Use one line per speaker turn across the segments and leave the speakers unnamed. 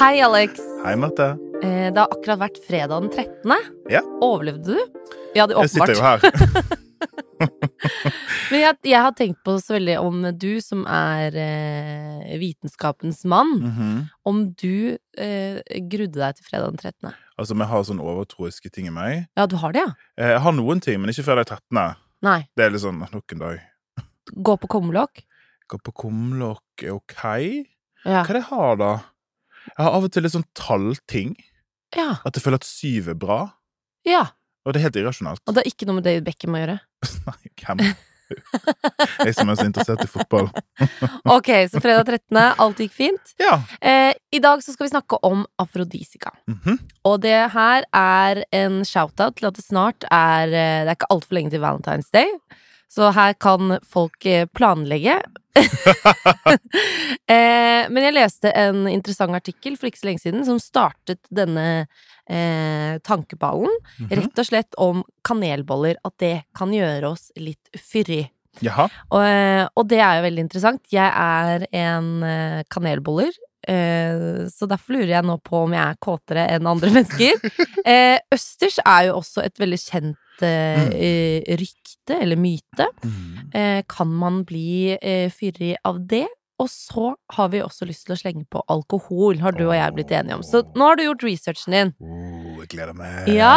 Hei, Alex.
Hei, Marte.
Eh, Det har akkurat vært fredag den 13.
Ja.
Overlevde du? Ja, det er
Jeg sitter
åpenbart.
jo her.
Men jeg, jeg har tenkt på så veldig om du som er eh, vitenskapens mann,
Mhm.
om du eh, grudde deg til fredag den 13.
Altså, vi har sånn overtroiske ting i meg.
Ja, du har det, ja?
Eh, Jeg har noen ting, men ikke før de 13.
Nei.
Det er litt sånn nok en dag.
Gå på kumlokk?
Gå på kumlokk er OK. Hva
Ja.
er det jeg har, da? Jeg har av og til litt sånn tallting.
ja.
At jeg føler at syv er bra.
Ja.
Og det er helt irrasjonalt.
Og det har ikke noe med David Beckham å gjøre.
Nei, hvem? Jeg som er så interessert i fotball.
Ok, så fredag 13. Alt gikk fint.
Ja.
Eh, I dag så skal vi snakke om afrodisika.
Mhm.
Og det her er en shout-out til at det snart er eh, Det er ikke altfor lenge til Valentine's Day, så her kan folk eh, planlegge. eh, men jeg leste en interessant artikkel for ikke så lenge siden som startet denne eh, tankeballen.
Mhm.
Rett og slett om kanelboller, at det kan gjøre oss litt fyrig.
Jaha.
Og, eh, og det er jo veldig interessant. Jeg er en eh, kanelboller. eh, Så derfor lurer jeg nå på om jeg er kåtere enn andre mennesker. Eh, Østers er jo også et veldig kjent eh, eh, rykte, eller myte.
Mhm.
Eh, Kan man bli eh, fyrig av det? Og så har vi også lyst til å slenge på alkohol, har du og jeg blitt enige om. Så nå har du gjort researchen din.
Oh, jeg gleder meg.
Ja?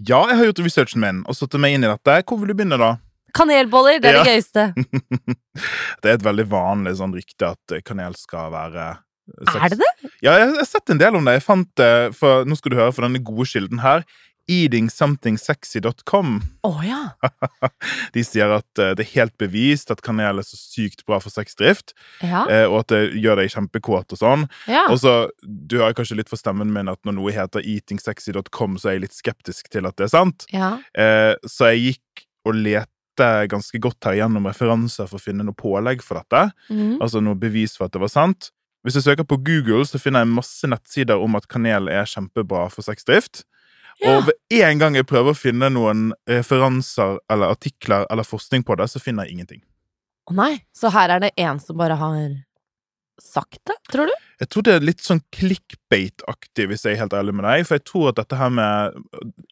Ja, jeg har gjort researchen min og satt meg inn i dette. Hvor vil du begynne, da?
Kanelboller, det er det gøyeste.
Det er et veldig vanlig sånn rykte at eh, kanel skal være eh,
Er det det?
Ja, jeg jeg har sett en del om det. Jeg fant det, for, Nå skal du høre fra denne gode kilden her. Eatingsometingsexy.com.
Å ja.
De sier at eh, det er helt bevist at kanel er så sykt bra for sexdrift,
Ja.
eh, og at det gjør deg kjempekåt og sånn.
ja.
Og så, Du hører kanskje litt for stemmen min at når noe heter eatingsexy.com, så er jeg litt skeptisk til at det er sant.
ja.
Eh, så jeg gikk og lette ganske godt her gjennom referanser for å finne noe pålegg for dette.
Mhm.
Altså noe bevis for at det var sant. Hvis jeg søker på Google, så finner jeg masse nettsider om at kanel er kjempebra for sexdrift.
Ja.
Og ved en gang jeg prøver å finne noen referanser eller artikler eller forskning på det, så finner jeg ingenting.
Å nei, så her er det en som bare har sagt det, tror du?
Jeg tror det er litt sånn clickbait-aktig, hvis jeg er helt ærlig med deg. For jeg tror at dette her med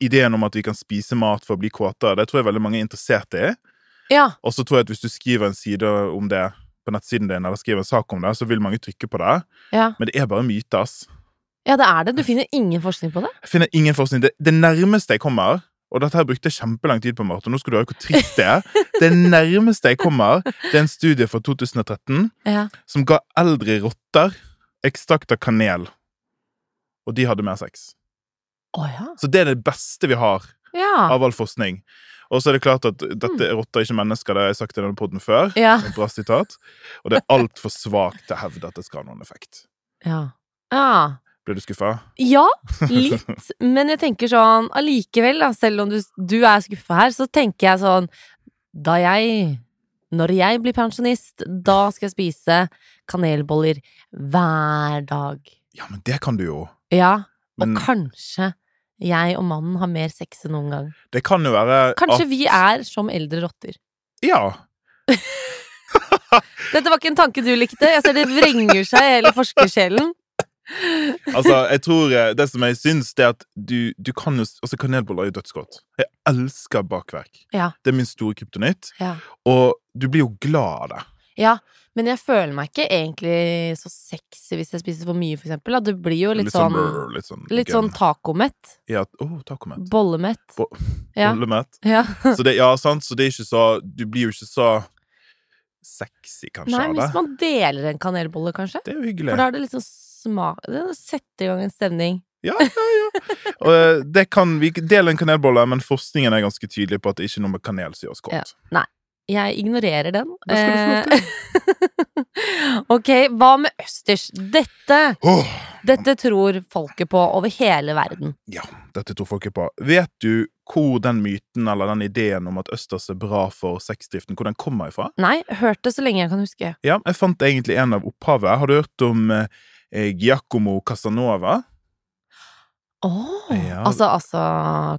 ideen om at vi kan spise mat for å bli kåtere, det tror jeg veldig mange er interessert i.
Ja.
Og så tror jeg at hvis du skriver en side om det på nettsiden din, eller skriver en sak om det, så vil mange trykke på det.
Ja,
Men det er bare myter, ass.
ja det er det. Du finner ingen forskning på det?
Jeg finner ingen forskning. Det, det nærmeste jeg kommer Og dette her brukte jeg kjempelang tid på, Marte. Nå skal du høre hvor trist det er. Det nærmeste jeg kommer, det er en studie fra 2013
Ja.
som ga eldre rotter ekstrakt av kanel. Og de hadde mer sex.
Å ja.
Så det er det beste vi har
Ja.
av all forskning. Og så er det klart at dette er rotter, ikke mennesker. Det har jeg sagt i denne podden før.
Ja.
Et Bra sitat. Og det er altfor svakt til å hevde at det skal ha noen effekt.
Ja. ja.
Blir du skuffa?
Ja, litt, men jeg tenker sånn allikevel, da, selv om du, du er skuffa her, så tenker jeg sånn Da jeg Når jeg blir pensjonist, da skal jeg spise kanelboller hver dag.
Ja, men det kan du jo.
Ja, og
Men
kanskje jeg og mannen har mer sex enn noen gang.
det kan jo være
Kanskje
at-
vi er som eldre rotter.
Ja.
Dette var ikke en tanke du likte. Jeg ser det vrenger seg i hele forskersjelen.
Altså, jeg tror eh, Det som jeg syns, det er at du, du kan jo Altså, kanelboller er jo dødsgodt. Jeg elsker bakverk.
Ja.
Det er min store kryptonitt.
Ja.
Og du blir jo glad av det.
Ja, men jeg føler meg ikke egentlig så sexy hvis jeg spiser for mye, for eksempel. da. Det blir jo litt, sånn,
brr, litt sånn
litt sånn tacomett.
Ja, oh, tacomett.
Bollemett.
Bo-
ja.
Bollemett.
ja.
Så det, ja, sant, så det er ikke så Du blir jo ikke så sexy, kanskje,
Nei, men
av
hvis
det.
man deler en kanelbolle, kanskje.
Det er jo hyggelig.
For da er det liksom smak Det setter i gang en stemning.
Ja, ja, ja. Og eh, det kan vi dele en kanelbolle, men forskningen er ganske tydelig på at det ikke er noe med kanel som gjør oss godt.
Ja. Jeg ignorerer den.
Det skal du
Eh, ok, hva med østers? Dette,
Åh,
dette tror folket på over hele verden.
dette tror folk er på. Vet du hvor den myten eller den ideen om at østers er bra for sexdriften, hvor den kommer ifra?
Nei, hørt det så lenge jeg kan huske.
Ja, jeg fant egentlig en av opphavet. Har du hørt om eh, Giacomo Casanova?
Åh,
Ja.
Altså, altså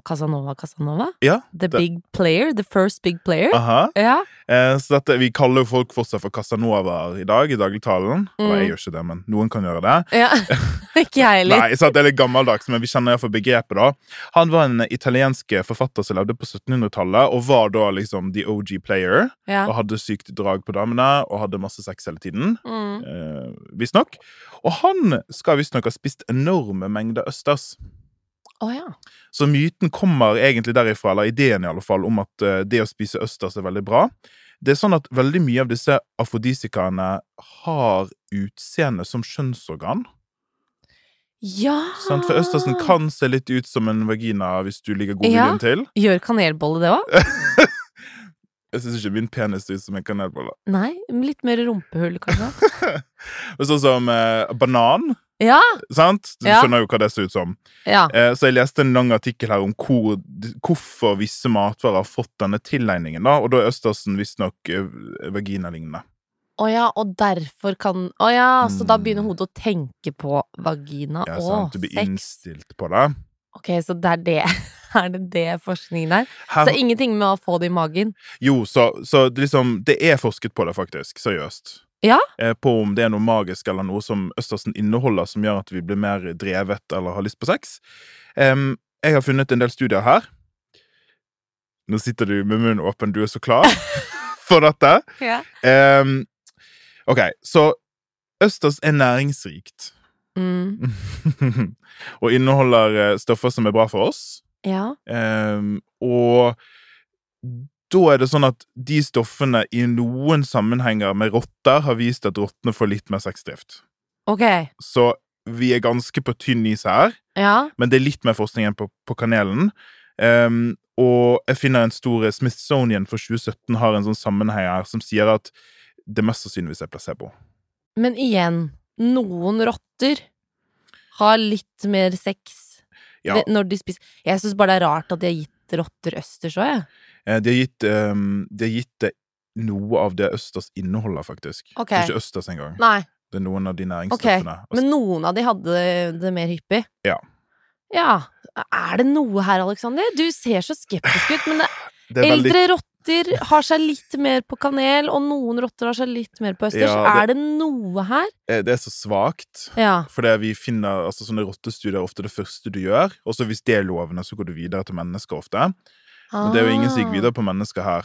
Casanova, Casanova.
ja.
The
Det- Ah.
big player. The first big player.
Aha.
Ja.
Eh, så dette, vi kaller jo folk fortsatt for Casanovaer i dag i dagligtalen. Og
Mm.
jeg gjør ikke det, men noen kan gjøre det.
ja. Ikke jeg heller.
Nei, så at det er litt gammeldags, men vi kjenner iallfall begrepet, da. Han var en italiensk forfatter som levde på 1700-tallet, og var da liksom the OG player.
Ja.
Og hadde sykt drag på damene, og hadde masse sex hele tiden.
Mm.
Eh, visstnok. Og han skal visstnok ha spist enorme mengder østers.
Å ja.
Så myten kommer egentlig derifra, eller ideen i alle fall, om at eh, det å spise østers er veldig bra. Det er sånn at veldig mye av disse afrodisikaene har utseende som kjønnsorgan.
Ja!
Sant? For østersen kan se litt ut som en vagina hvis du ligger godviljen
Ah. Ja.
til.
Gjør kanelbolle det òg?
Jeg syns ikke min penis ser ut som en kanelbolle.
Nei, litt mer rumpehull, kanskje.
Men sånn som eh, banan,
Ja!
sant? Du
Ja.
skjønner jo hva det ser ut som.
ja.
Eh, så jeg leste en lang artikkel her om hvor, hvorfor visse matvarer har fått denne tilegningen, da, og da er østersen visstnok eh, vaginalignende.
Å ja, og derfor kan Å ja, så da begynner
Mm.
hodet å tenke på vagina
Ja,
og
sant? Du blir
sex.
innstilt på det.
Ok, så det er det. Er det det forskningen er?
Her,
Så ingenting med å få det i magen?
jo, så, så det liksom, det er forsket på det, faktisk. Seriøst.
Ja?
Eh, på om det er noe magisk eller noe som østersen inneholder som gjør at vi blir mer drevet eller har lyst på sex. Em, jeg har funnet en del studier her. Nå sitter du med munnen åpen, du er så klar for dette.
Ja.
Em, Ehm, ok, så østers er næringsrikt.
Mm.
og inneholder eh, stoffer som er bra for oss.
ja.
Ehm, og da er det sånn at de stoffene i noen sammenhenger med rotter har vist at rottene får litt mer sexdrift.
Ok.
Så vi er ganske på tynn is her,
Ja.
men det er litt mer forskning enn på, på kanelen. Ehm, og jeg finner en stor Smithsonian for 2017 har en sånn sammenheng her som sier at det mest sannsynligvis er placebo.
Men igjen, noen rotter har litt mer sex
Ja.
ved- når de spiser Jeg syns bare det er rart at de har gitt rotter østers òg, jeg.
Eh, De har gitt, ehm, de har gitt det noe av det østers inneholder, faktisk.
Ok.
Det er ikke østers engang.
Nei.
Det er noen av de
Ok,
næringsstoffene.
Men noen av de hadde det mer hyppig.
Ja.
Ja. Er det noe her, Aleksander? Du ser så skeptisk ut, men det,
Altså, det er veldig
eldre rotter har seg litt mer på kanel, og noen rotter har seg litt mer på østers.
Ja,
Er det noe her?
eh, det er så svakt.
Ja.
Fordi vi finner altså sånne rottestudier er ofte det første du gjør. Og så hvis det er lovende, så går du videre til mennesker ofte. Men det er jo ingen
Ah.
som gikk videre på mennesker her.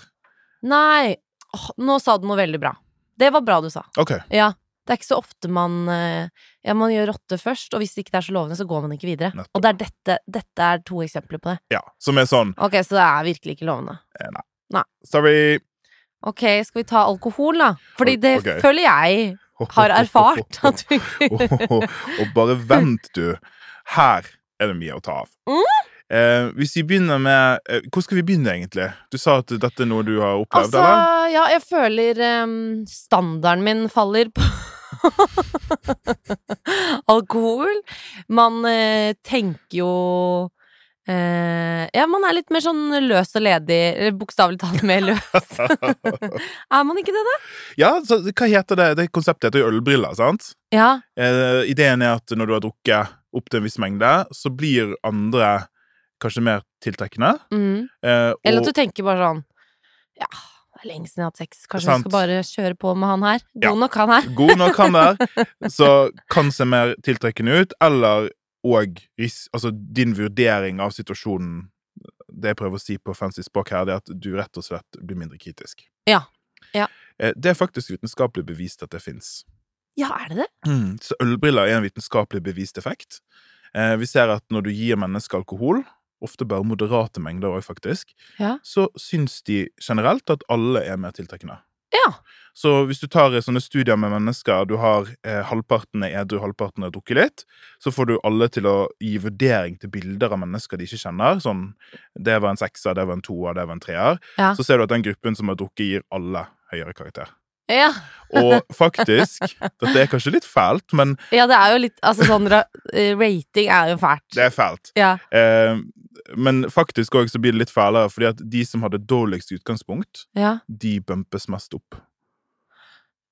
Nei. Åh, nå sa du noe veldig bra. Det var bra du sa.
Ok,
Ja. Det er ikke så ofte man eh, Ja, man gjør rotte først, og hvis det ikke er så lovende, så går man ikke videre.
Nettopp.
Og det er dette, dette er to eksempler på det.
ja. Som er sånn
Ok, så det er virkelig ikke lovende.
Sorry!
Ok, skal vi ta alkohol, da? Fordi det
Ok.
føler jeg har erfart at funker.
Og bare vent, du. Her er det mye å ta av.
Mm.
Eh, hvis vi begynner med eh, Hvor skal vi begynne, egentlig? Du sa at dette er noe du har opplevd,
Altså,
eller?
ja, jeg føler em, standarden min faller på alkohol. Man eh, tenker jo eh, Ja, man er litt mer sånn løs og ledig. eller Bokstavelig talt mer løs. er man ikke det, da?
ja, så hva heter det? Det konseptet heter jo ølbriller, sant?
Ja.
Eh, ideen er at når du har drukket opp til en viss mengde, så blir andre kanskje mer tiltrekkende.
Mm.
Eh, og,
Eller at du tenker bare sånn Ja, det er lenge siden jeg har hatt sex. Kanskje vi
Sant.
skal bare kjøre på med han her. God
Ja.
nok, han her.
god nok han der, så kan se mer tiltrekkende ut, eller og ris altså din vurdering av situasjonen Det jeg prøver å si på fancy språk her, det er at du rett og slett blir mindre kritisk.
Ja. Ja.
Eh, Det er faktisk vitenskapelig bevist at det fins.
Ja, er det det?
Mm, så ølbriller er en vitenskapelig bevist effekt. Eh, vi ser at når du gir mennesker alkohol, ofte bare moderate mengder òg, faktisk,
Ja.
så syns de generelt at alle er mer tiltrekkende.
Ja.
Så hvis du tar eh, sånne studier med mennesker, du har eh, halvparten er edru, halvparten har drukket litt, så får du alle til å gi vurdering til bilder av mennesker de ikke kjenner. Sånn 'det var en sekser, det var en toer, det var en treer'.
Ja.
Så ser du at den gruppen som har drukket, gir alle høyere karakter.
Ja.
Og faktisk, dette er kanskje litt fælt, men
ja, det er jo litt Altså sånn ra- eh, rating er jo fælt.
det er fælt.
Ja.
Eh, men faktisk òg så blir det litt fælere, fordi at de som hadde dårligst utgangspunkt,
ja.
de bumpes mest opp.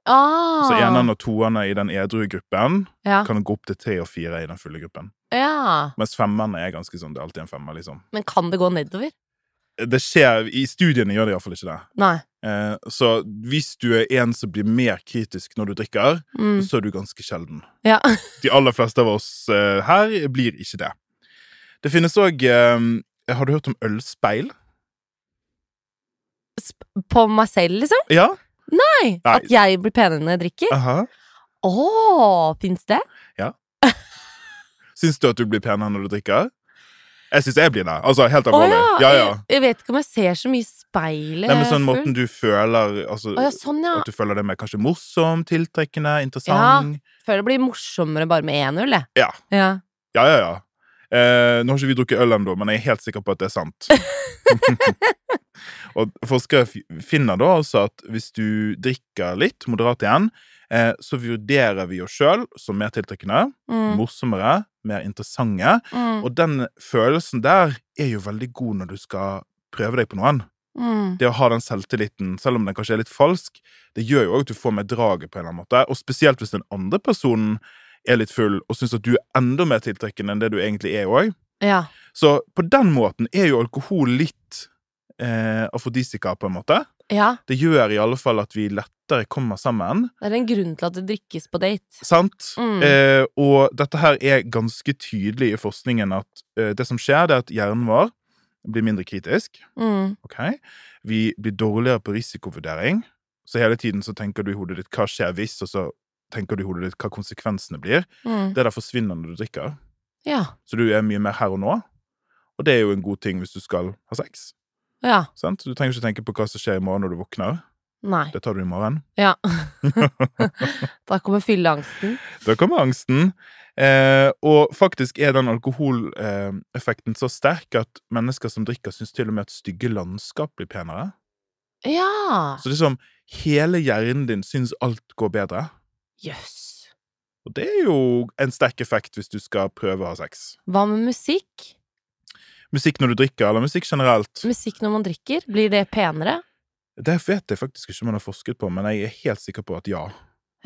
Ah,
Så enerne og toerne i den edru gruppen
ja.
kan gå opp til tre og fire i den fulle gruppen.
ja.
Mens femmerne er ganske sånn, det er alltid en femmer, liksom.
Men kan det gå nedover?
Det skjer, I studiene gjør det iallfall ikke det.
Nei.
Eh, så hvis du er en som blir mer kritisk når du drikker,
Mm.
så er du ganske sjelden.
Ja.
De aller fleste av oss eh, her blir ikke det. Det finnes òg eh, Har du hørt om ølspeil?
Sp- På meg selv, liksom?
Ja?
Nei. At jeg blir penere når jeg drikker?
Aha.
Å, fins det?
Syns du at du blir penere når du drikker? Jeg syns jeg blir det. Altså, helt
Å
alvorlig. ja, ja.
Jeg, jeg vet ikke om jeg ser så mye i speilet.
Nei, men sånn
full.
måten du føler altså,
Å ja, sånn, ja.
At du føler det med kanskje morsom, tiltrekkende, interessant.
Føler det blir morsommere bare med 1-0, jeg.
Ja.
Ja.
Ja, ja, ja. Eh, nå har ikke vi drukket øl ennå, men jeg er helt sikker på at det er sant. og Forskere fi- finner da altså at hvis du drikker litt, moderat igjen, eh, så vurderer vi oss sjøl som mer tiltrekkende,
Mm.
morsommere, mer interessante.
Mm.
Og den følelsen der er jo veldig god når du skal prøve deg på noen.
Mm.
Det å ha den selvtilliten, selv om den kanskje er litt falsk, det gjør jo òg at du får med draget på en eller annen måte. Og spesielt hvis den andre personen er litt full og syns at du er enda mer tiltrekkende enn det du egentlig er òg.
Ja.
Så på den måten er jo alkohol litt eh, afrodisika, på en måte.
ja.
Det gjør i alle fall at vi lettere kommer sammen.
Det er en grunn til at det drikkes på date.
Sant?
Mm.
Eh, og dette her er ganske tydelig i forskningen at eh, det som skjer, det er at hjernen vår blir mindre kritisk.
Mm.
ok? Vi blir dårligere på risikovurdering. Så hele tiden så tenker du i hodet ditt hva skjer hvis, og så tenker du i hodet ditt hva konsekvensene blir.
Mm.
Det der forsvinner når du drikker.
Ja.
Så du er mye mer her og nå. Og det er jo en god ting hvis du skal ha sex.
Ja.
Sant? Du trenger ikke tenke på hva som skjer i morgen når du våkner.
Nei.
Det tar du i morgen.
Ja. da kommer fylleangsten.
Da kommer angsten. Eh, og faktisk er den alkoholeffekten eh, effekten så sterk at mennesker som drikker, syns til og med at stygge landskap blir penere.
Ja.
Så det er som hele hjernen din syns alt går bedre.
Jøss.
Og det er jo en sterk effekt hvis du skal prøve å ha sex.
Hva med musikk?
Musikk når du drikker, eller musikk generelt,
Musikk når man drikker, blir det penere?
det vet jeg faktisk ikke om man har forsket på, men jeg er helt sikker på at ja.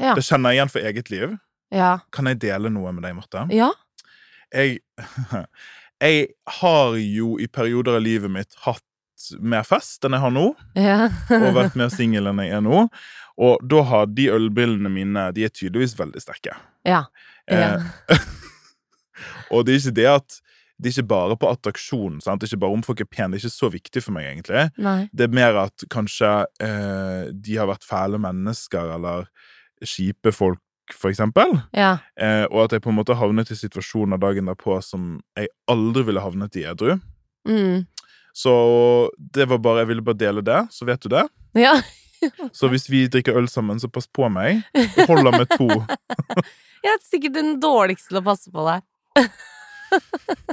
Ja.
Det kjenner jeg igjen for eget liv.
Ja.
Kan jeg dele noe med deg, Marte?
Ja.
jeg, jeg har jo i perioder av livet mitt hatt mer fest enn jeg har nå,
ja.
og vært mer singel enn jeg er nå. Og da har de ølbrillene mine De er tydeligvis veldig sterke. Eh,
Ja. Ja.
og det er ikke det at Det er ikke bare på attraksjon. Sant? Det er ikke bare om folk er pene. Det er ikke så viktig for meg, egentlig.
Nei.
Det er mer at kanskje eh, de har vært fæle mennesker eller kjipe folk, for eksempel.
Ja.
Eh, og at jeg på en måte havnet i situasjoner dagen derpå som jeg aldri ville havnet i edru.
Mm.
Så det var bare, jeg ville bare dele det, så vet du det.
Ja.
Så hvis vi drikker øl sammen, så pass på meg. Holder med to.
Jeg er sikkert den dårligste til å passe på deg.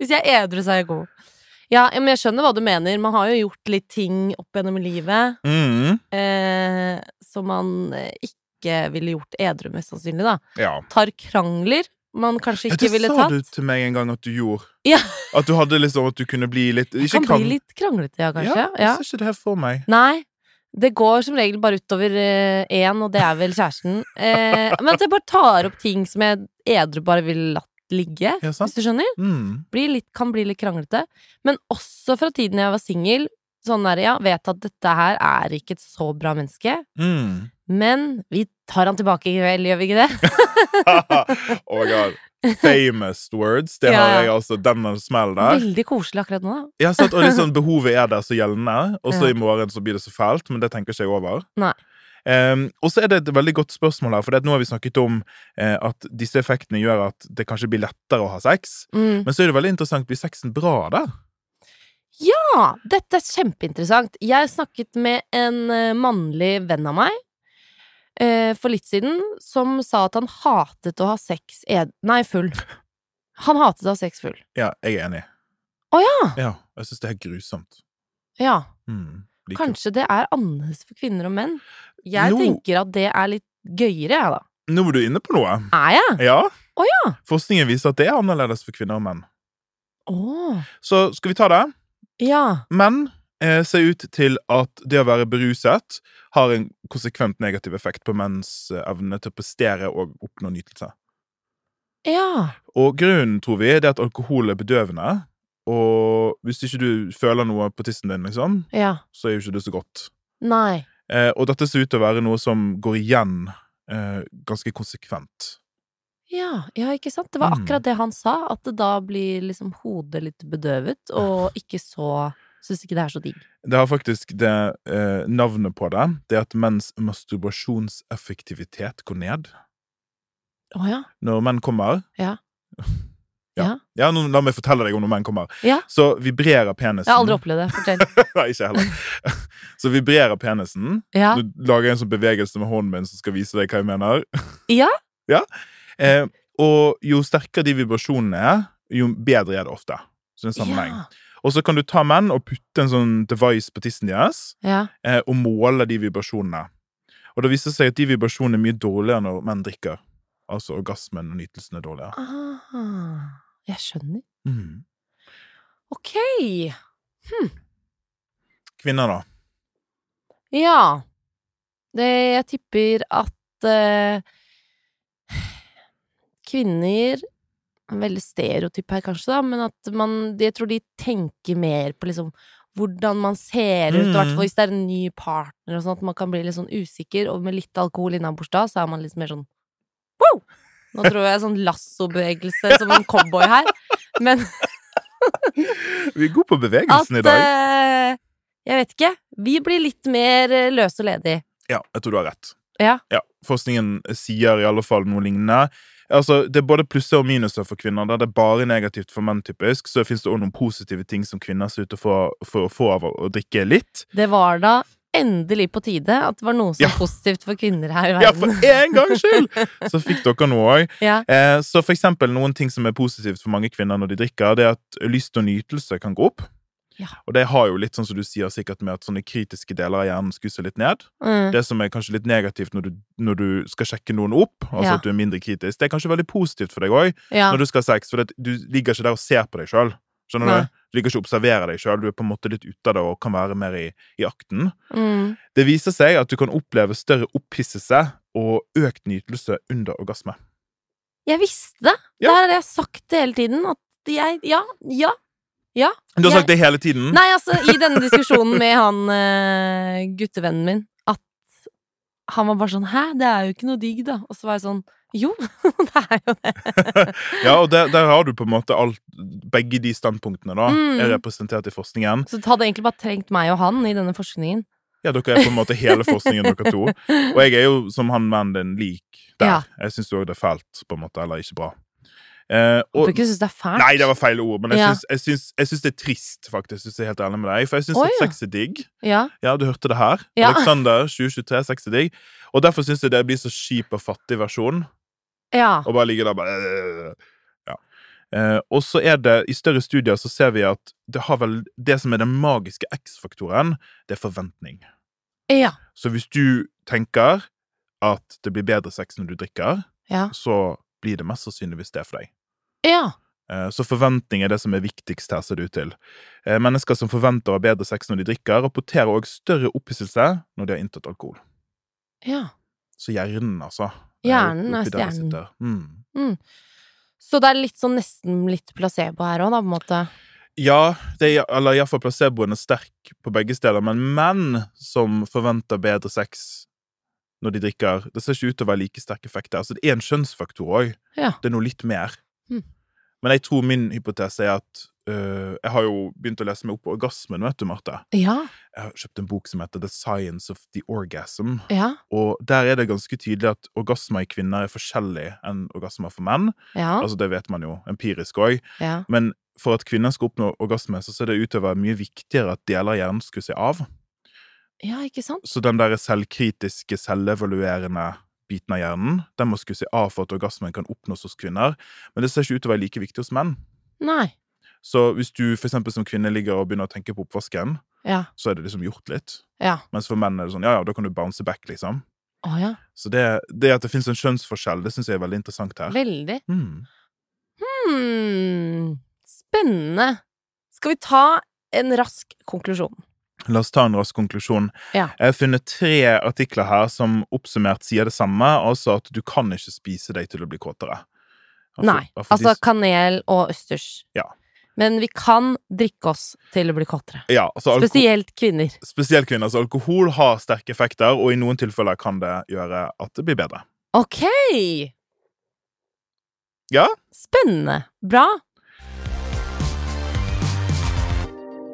Hvis jeg er edru, så er jeg god. Ja, ja, men jeg skjønner hva du mener. Man har jo gjort litt ting opp gjennom livet
Mm,
eh, som man eh, ikke ville gjort edru, mest sannsynlig, da.
ja.
Tar krangler man kanskje
ja.
ikke
Det
ville
sa
tatt.
du til meg en gang at du gjorde.
Ja.
At du hadde liksom at du kunne bli litt
Det
Ikke
kan
kan.
bli litt kranglete, ja, kanskje.
Ja,
Ja.
jeg ser ikke det her for meg.
Nei. Det går som regel bare utover eh, én, og det er vel kjæresten. Eh, men at jeg bare tar opp ting som jeg edru bare ville latt ligge,
Ja, sant?
hvis du skjønner?
Mm.
blir litt, kan bli litt kranglete. Men også fra tiden jeg var singel, sånn der, ja, vet at dette her er ikke et så bra menneske.
Mm.
Men vi tar han tilbake i kveld, gjør vi ikke det?
oh my god. Famous words. Det
Ja,
har
ja.
jeg altså. Den smellen der.
Veldig koselig akkurat nå, da.
Ja, sant? Og litt sånn behovet er der så gjeldende, og så
Ja.
i morgen så blir det så fælt, men det tenker ikke jeg over.
Nei.
Ehm, og så er det et veldig godt spørsmål her, for det at nå har vi snakket om eh, at disse effektene gjør at det kanskje blir lettere å ha sex.
Mm.
Men så er det veldig interessant, blir sexen bra der?
Ja, dette er kjempeinteressant. Jeg snakket med en eh, mannlig venn av meg eh, for litt siden, som sa at han hatet å ha sex ed... Nei, full. Han hatet å ha sex full.
Ja, jeg er enig.
Å ja!
Ja, jeg synes det er grusomt.
Ja.
Mm, liker.
Kanskje det er annerledes for kvinner og menn. Jeg
Nå-
tenker at det er litt gøyere, jeg, da.
Nå er du inne på noe.
Er jeg?
Ja.
Å ja.
Forskningen viser at det er annerledes for kvinner og menn.
Åh.
Så skal vi ta det?
Ja.
Menn eh, ser ut til at det å være beruset har en konsekvent negativ effekt på menns eh, evne til å prestere og oppnå nytelse.
Ja.
Og grunnen, tror vi, det er at alkohol er bedøvende. Og hvis ikke du føler noe på tissen din, liksom,
Ja.
så er jo ikke det så godt.
Nei.
Eh, og dette ser ut til å være noe som går igjen eh, ganske konsekvent.
Ja, ja, ikke sant? Det var
Mm.
akkurat det han sa, at det da blir liksom hodet litt bedøvet, og ikke så Syns ikke det er så digg.
Det har faktisk det eh, navnet på det. Det er at menns masturbasjonseffektivitet går ned.
Å ja.
Når menn kommer
Ja.
Ja.
Ja.
ja, nå, La meg fortelle deg om når menn kommer.
Ja.
Så vibrerer penisen
Jeg har aldri opplevd det. Fortell.
Nei, ikke heller. Så vibrerer penisen.
Ja.
Du lager jeg en sånn bevegelse med hånden min som skal vise deg hva jeg mener.
Ja.
Ja. Eh, og jo sterkere de vibrasjonene er, jo bedre er det ofte. Så det er en sammenheng.
Ja.
Og så kan du ta menn og putte en sånn device på tissen deres
ja.
eh, og måle de vibrasjonene. Og det viser seg at de vibrasjonene er mye dårligere når menn drikker. Altså orgasmen og nytelsen er dårligere.
Ah, jeg skjønner.
Mhm.
Ok.
Kvinner, da?
Ja. Det, jeg tipper at eh, kvinner Veldig stereotyp her, kanskje, da, men at man Jeg tror de tenker mer på liksom hvordan man ser ut, og i hvert
Mm.
fall hvis det er en ny partner og sånn, at man kan bli litt sånn usikker, og med litt alkohol innabords da, så er man litt mer sånn wow! Nå tror jeg sånn lassobevegelse som en cowboy her, men
Vi er gode på
at
bevegelsen i dag.
eh, Jeg vet ikke. Vi blir litt mer eh, løse og ledige.
Ja, jeg tror du har rett.
Ja.
Forskningen sier i alle fall noe lignende. Altså, Det er både plusser og minuser for kvinner. Der det er bare negativt for menn, typisk, så fins det også noen positive ting som kvinner ser ut til å få, for å få av å å drikke litt.
Det var da endelig på tide at det var noe som
Ja.
var positivt for kvinner her i
Ja, for
verden.
én gangs skyld! Så fikk dere noe òg.
Ja.
Eh, så for eksempel noen ting som er positivt for mange kvinner når de drikker, det er at lyst og nytelse kan gå opp.
Ja.
Og det har jo litt sånn som du sier sikkert med at sånne kritiske deler av hjernen skuser litt ned.
Mm.
Det som er kanskje litt negativt når du, når du skal sjekke noen opp, altså
Ja.
at du er mindre kritisk, det er kanskje veldig positivt for deg òg
ja.
når du skal ha sex, for det, du ligger ikke der og ser på deg sjøl. Skjønner
Nei.
du? Du ligger ikke og observerer deg sjøl, du er på en måte litt ute av det og kan være mer i, i akten.
Mm.
Det viser seg at du kan oppleve større opphisselse og økt nytelse under orgasme.
Jeg visste det!
Ja.
Det har jeg sagt hele tiden. At jeg Ja, ja.
Du har
Jeg-
sagt det hele tiden.
Nei, altså, i denne diskusjonen med han eh, guttevennen min, at han var bare sånn 'hæ, det er jo ikke noe digg', da. Og så var jeg sånn jo, det er jo det.
Ja, og der, der har du på en måte alt, begge de standpunktene da,
Mm.
er representert i forskningen.
Så det hadde egentlig bare trengt meg og han i denne forskningen.
Ja, dere er på en måte hele forskningen, dere to. Og jeg er jo, som han mannen din, lik der.
Ja.
Jeg syns jo også det er fælt, på en måte, eller ikke bra. Eh,
Du
og,
ikke synes det er fælt?
nei, det var feil ord, men jeg
Ja.
syns- jeg syns- jeg syns det er trist, faktisk. Synes jeg er helt ærlig med deg. For jeg syns
Å,
at
ja.
sex er digg.
Ja.
Ja, du hørte det her.
Ja.
Alexander 2023, sex er digg. Og derfor syns jeg det blir så kjip og fattig versjon.
ja.
Og bare ligger der bare øh, ja. eh, Og så er det, i større studier så ser vi at det har vel det som er den magiske X-faktoren, det er forventning.
Ja.
Så hvis du tenker at det blir bedre sex når du drikker,
Ja.
så blir det mest sannsynligvis det for deg.
ja.
Eh, Så forventning er det som er viktigst her, ser det ut til. Eh, Mennesker som forventer å ha bedre sex når de drikker, rapporterer òg større opphisselse når de har inntatt alkohol.
ja.
Så hjernen, altså.
Hjernen er
eh, oppi der det
stjernen.
sitter. Mm.
Så det er litt sånn nesten litt placebo her òg, da, på en måte.
Ja, det er, eller iallfall placeboen er sterk på begge steder, men menn som forventer bedre sex når de drikker, det ser ikke ut til å være like sterk effekt der. Så det er en kjønnsfaktor òg.
Ja.
Det er noe litt mer.
Mm.
Men jeg tror min hypotese er at øh, Jeg har jo begynt å lese meg opp på orgasmen, vet du, Marte.
Ja.
Jeg har kjøpt en bok som heter The Science of the Orgasm.
Ja.
Og der er det ganske tydelig at orgasmer i kvinner er forskjellig enn orgasmer for menn.
Ja.
Altså, det vet man jo empirisk òg.
ja.
Men for at kvinner skal oppnå orgasme, så ser det ut til å være mye viktigere at deler av hjernen skrur seg av.
ja, ikke sant?
Så den der selvkritiske, selvevaluerende biten av hjernen, den må skru seg av for at orgasmen kan oppnås hos kvinner. Men det ser ikke ut til å være like viktig hos menn.
Nei.
Så hvis du for eksempel som kvinne ligger og begynner å tenke på oppvasken,
Ja.
så er det liksom gjort litt.
Ja.
Mens for menn er det sånn, ja ja, da kan du bounce back, liksom.
Å ja.
Så det, det at det finnes en kjønnsforskjell, det syns jeg er veldig interessant her.
Veldig.
Mm.
Hmm. Spennende. Skal vi ta en rask konklusjon?
La oss ta en rask konklusjon.
Ja.
Jeg har funnet tre artikler her som oppsummert sier det samme, altså at du kan ikke spise deg til å bli kåtere. Altså-
Nei.
altså de-
Altså kanel og østers.
Ja.
Men vi kan drikke oss til å bli kåtere.
ja, altså alko
Spesielt kvinner.
spesielt kvinner. Så alkohol har sterke effekter, og i noen tilfeller kan det gjøre at det blir bedre.
Ok!
Ja.
Spennende. Bra.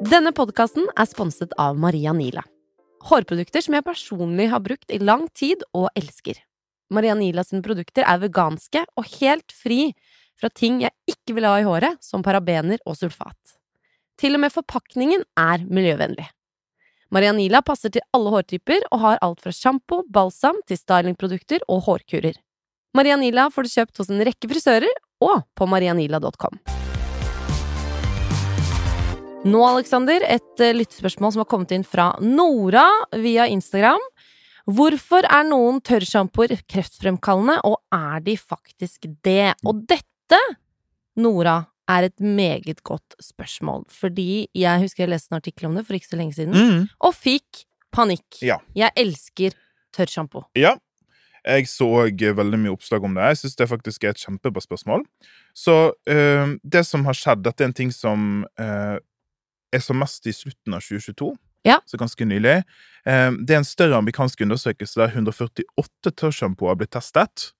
Denne podkasten er sponset av Maria Nila. Hårprodukter som jeg personlig har brukt i lang tid og elsker. Maria Nila sine produkter er veganske og helt fri fra ting jeg ikke vil ha i håret, som parabener og sulfat. Til og med forpakningen er miljøvennlig. Maria Nila passer til alle hårtyper og har alt fra sjampo, balsam til stylingprodukter og hårkurer. Maria Nila får du kjøpt hos en rekke frisører og på marianila.com. Nå, Alexander, et eh, lyttespørsmål som har kommet inn fra Nora via Instagram. Hvorfor er noen tørrsjampoer kreftfremkallende, og er de faktisk det? Og dette, Nora, er et meget godt spørsmål. Fordi jeg husker jeg leste en artikkel om det for ikke så lenge siden
Mm.
og fikk panikk.
Ja.
Jeg elsker tørrsjampo.
Ja. Jeg så òg veldig mye oppslag om det. Jeg syns det faktisk er et kjempebra spørsmål. Så eh, det som har skjedd, dette er en ting som eh, er som mest i slutten av 2022.
Ja.
Så ganske nylig. Eh, det er en større amerikansk undersøkelse der 148 tørrsjampoer blir testet.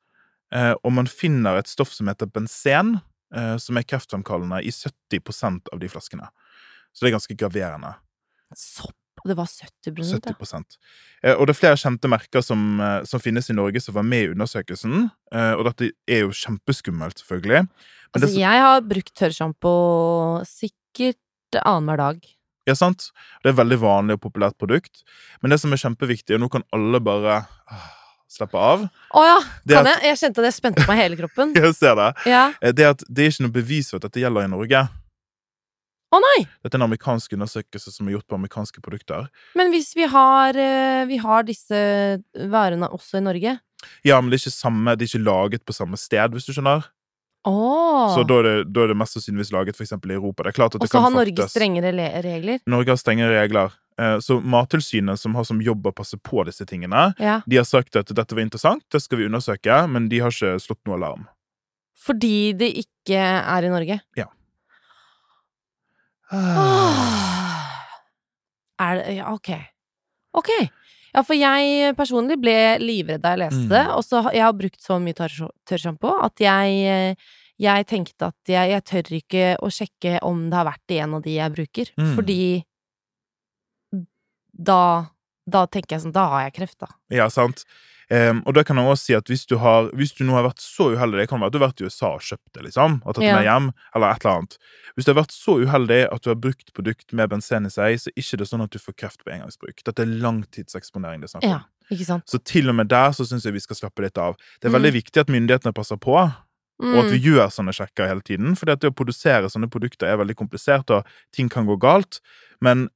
eh, og man finner et stoff som heter benzen, eh, som er kreftfremkallende, i 70 av de flaskene. Så det er ganske graverende.
Sopp. Mm, Det var 70 ja.
70 Eh, Og det er flere kjente merker som, eh, som finnes i Norge som var med i undersøkelsen. Eh, Og dette er jo kjempeskummelt, selvfølgelig. Men det,
Altså,
som-
jeg har brukt tørrsjampo sikkert annenhver dag.
ja, sant? det er et veldig vanlig og populært produkt. Men det som er kjempeviktig, og nå kan alle bare ah, slappe av
Å ja!
Det
Kan
at-
jeg? Jeg kjente at jeg spente meg i hele kroppen.
Jeg ser det.
Ja.
eh, Det er at det er ikke noe bevis for at dette gjelder i Norge.
Å nei!
Dette er en amerikansk undersøkelse som er gjort på amerikanske produkter.
Men hvis vi har, eh, vi har disse varene også i Norge
Ja, men det er ikke samme, det er ikke laget på samme sted, hvis du skjønner.
Å!
Så da er det, da er det mest sannsynligvis laget for eksempel i Europa. Det er klart at
Og
det
så
kan
har Norge
fraktes-
strengere le- regler.
Norge har strenge regler. Eh, Så Mattilsynet, som har som jobb å passe på disse tingene,
Ja.
de har sagt at dette var interessant, det skal vi undersøke, men de har ikke slått noe alarm.
Fordi det ikke er i Norge. Ah. Åh. Er det ja, Ok. Ok. Ja, for jeg personlig ble livredd da jeg leste
Mm.
det. Og så har jeg har brukt så mye tørr- tørrsjampo at jeg, eh, jeg tenkte at jeg, jeg tør ikke å sjekke om det har vært i en av de jeg bruker.
Mm.
Fordi da, da tenker jeg sånn Da har jeg kreft, da.
Ja, sant? Em, og da kan jeg også si at hvis du, har, hvis du nå har vært så uheldig, det kan være at du har vært i USA og kjøpt det, liksom, og tatt
Ja.
med hjem, eller et eller annet. Hvis du har vært så uheldig at du har brukt produkt med benzen i seg, så er ikke det sånn at du får kreft på engangsbruk. Dette er langtidseksponering det er snakk om.
Ja. Ikke sant?
Så til og med der så syns jeg vi skal slappe litt av. Det er
Mm.
veldig viktig at myndighetene passer på. Og at vi gjør sånne sjekker hele tiden. For det å produsere sånne produkter er veldig komplisert, og ting kan gå galt. Men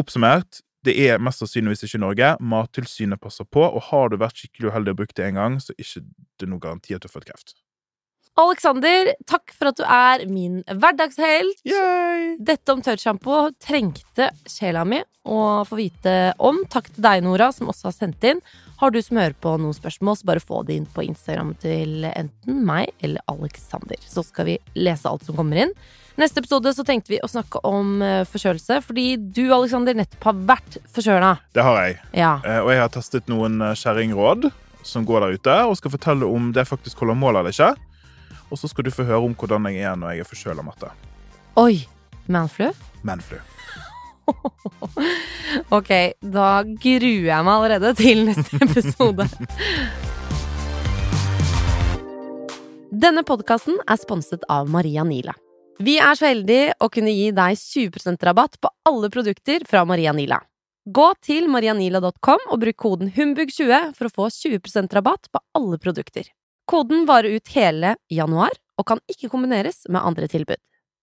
oppsummert, det er mest sannsynligvis ikke i Norge. Mattilsynet passer på, og har du vært skikkelig uheldig og brukt det en gang, så er ikke det noen garanti at du har fått kreft.
Aleksander, takk for at du er min hverdagshelt.
Yay!
Dette om tørrsjampo trengte sjela mi å få vite om. Takk til deg, Nora, som også har sendt inn. Har du som hører på noen spørsmål, så bare få det inn på Instagram til enten meg eller Alexander. Så skal vi lese alt som kommer inn. Neste episode så tenkte vi å snakke om eh, forkjølelse, fordi du, Alexander, nettopp har vært forkjøla.
Det har jeg.
Ja.
Eh, Og jeg har testet noen eh, kjerringråd som går der ute, og skal fortelle om det faktisk holder mål eller ikke. Og så skal du få høre om hvordan jeg er når jeg er forkjøla, Marte.
Oi! Manflu?
Manflu.
Ok, da gruer jeg meg allerede til neste episode. Denne podkasten er sponset av Maria Nila. Vi er så heldige å kunne gi deg 20 rabatt på alle produkter fra Maria Nila. Gå til marianila.com og bruk koden HUMBUG20 for å få 20 rabatt på alle produkter. Koden varer ut hele januar og kan ikke kombineres med andre tilbud.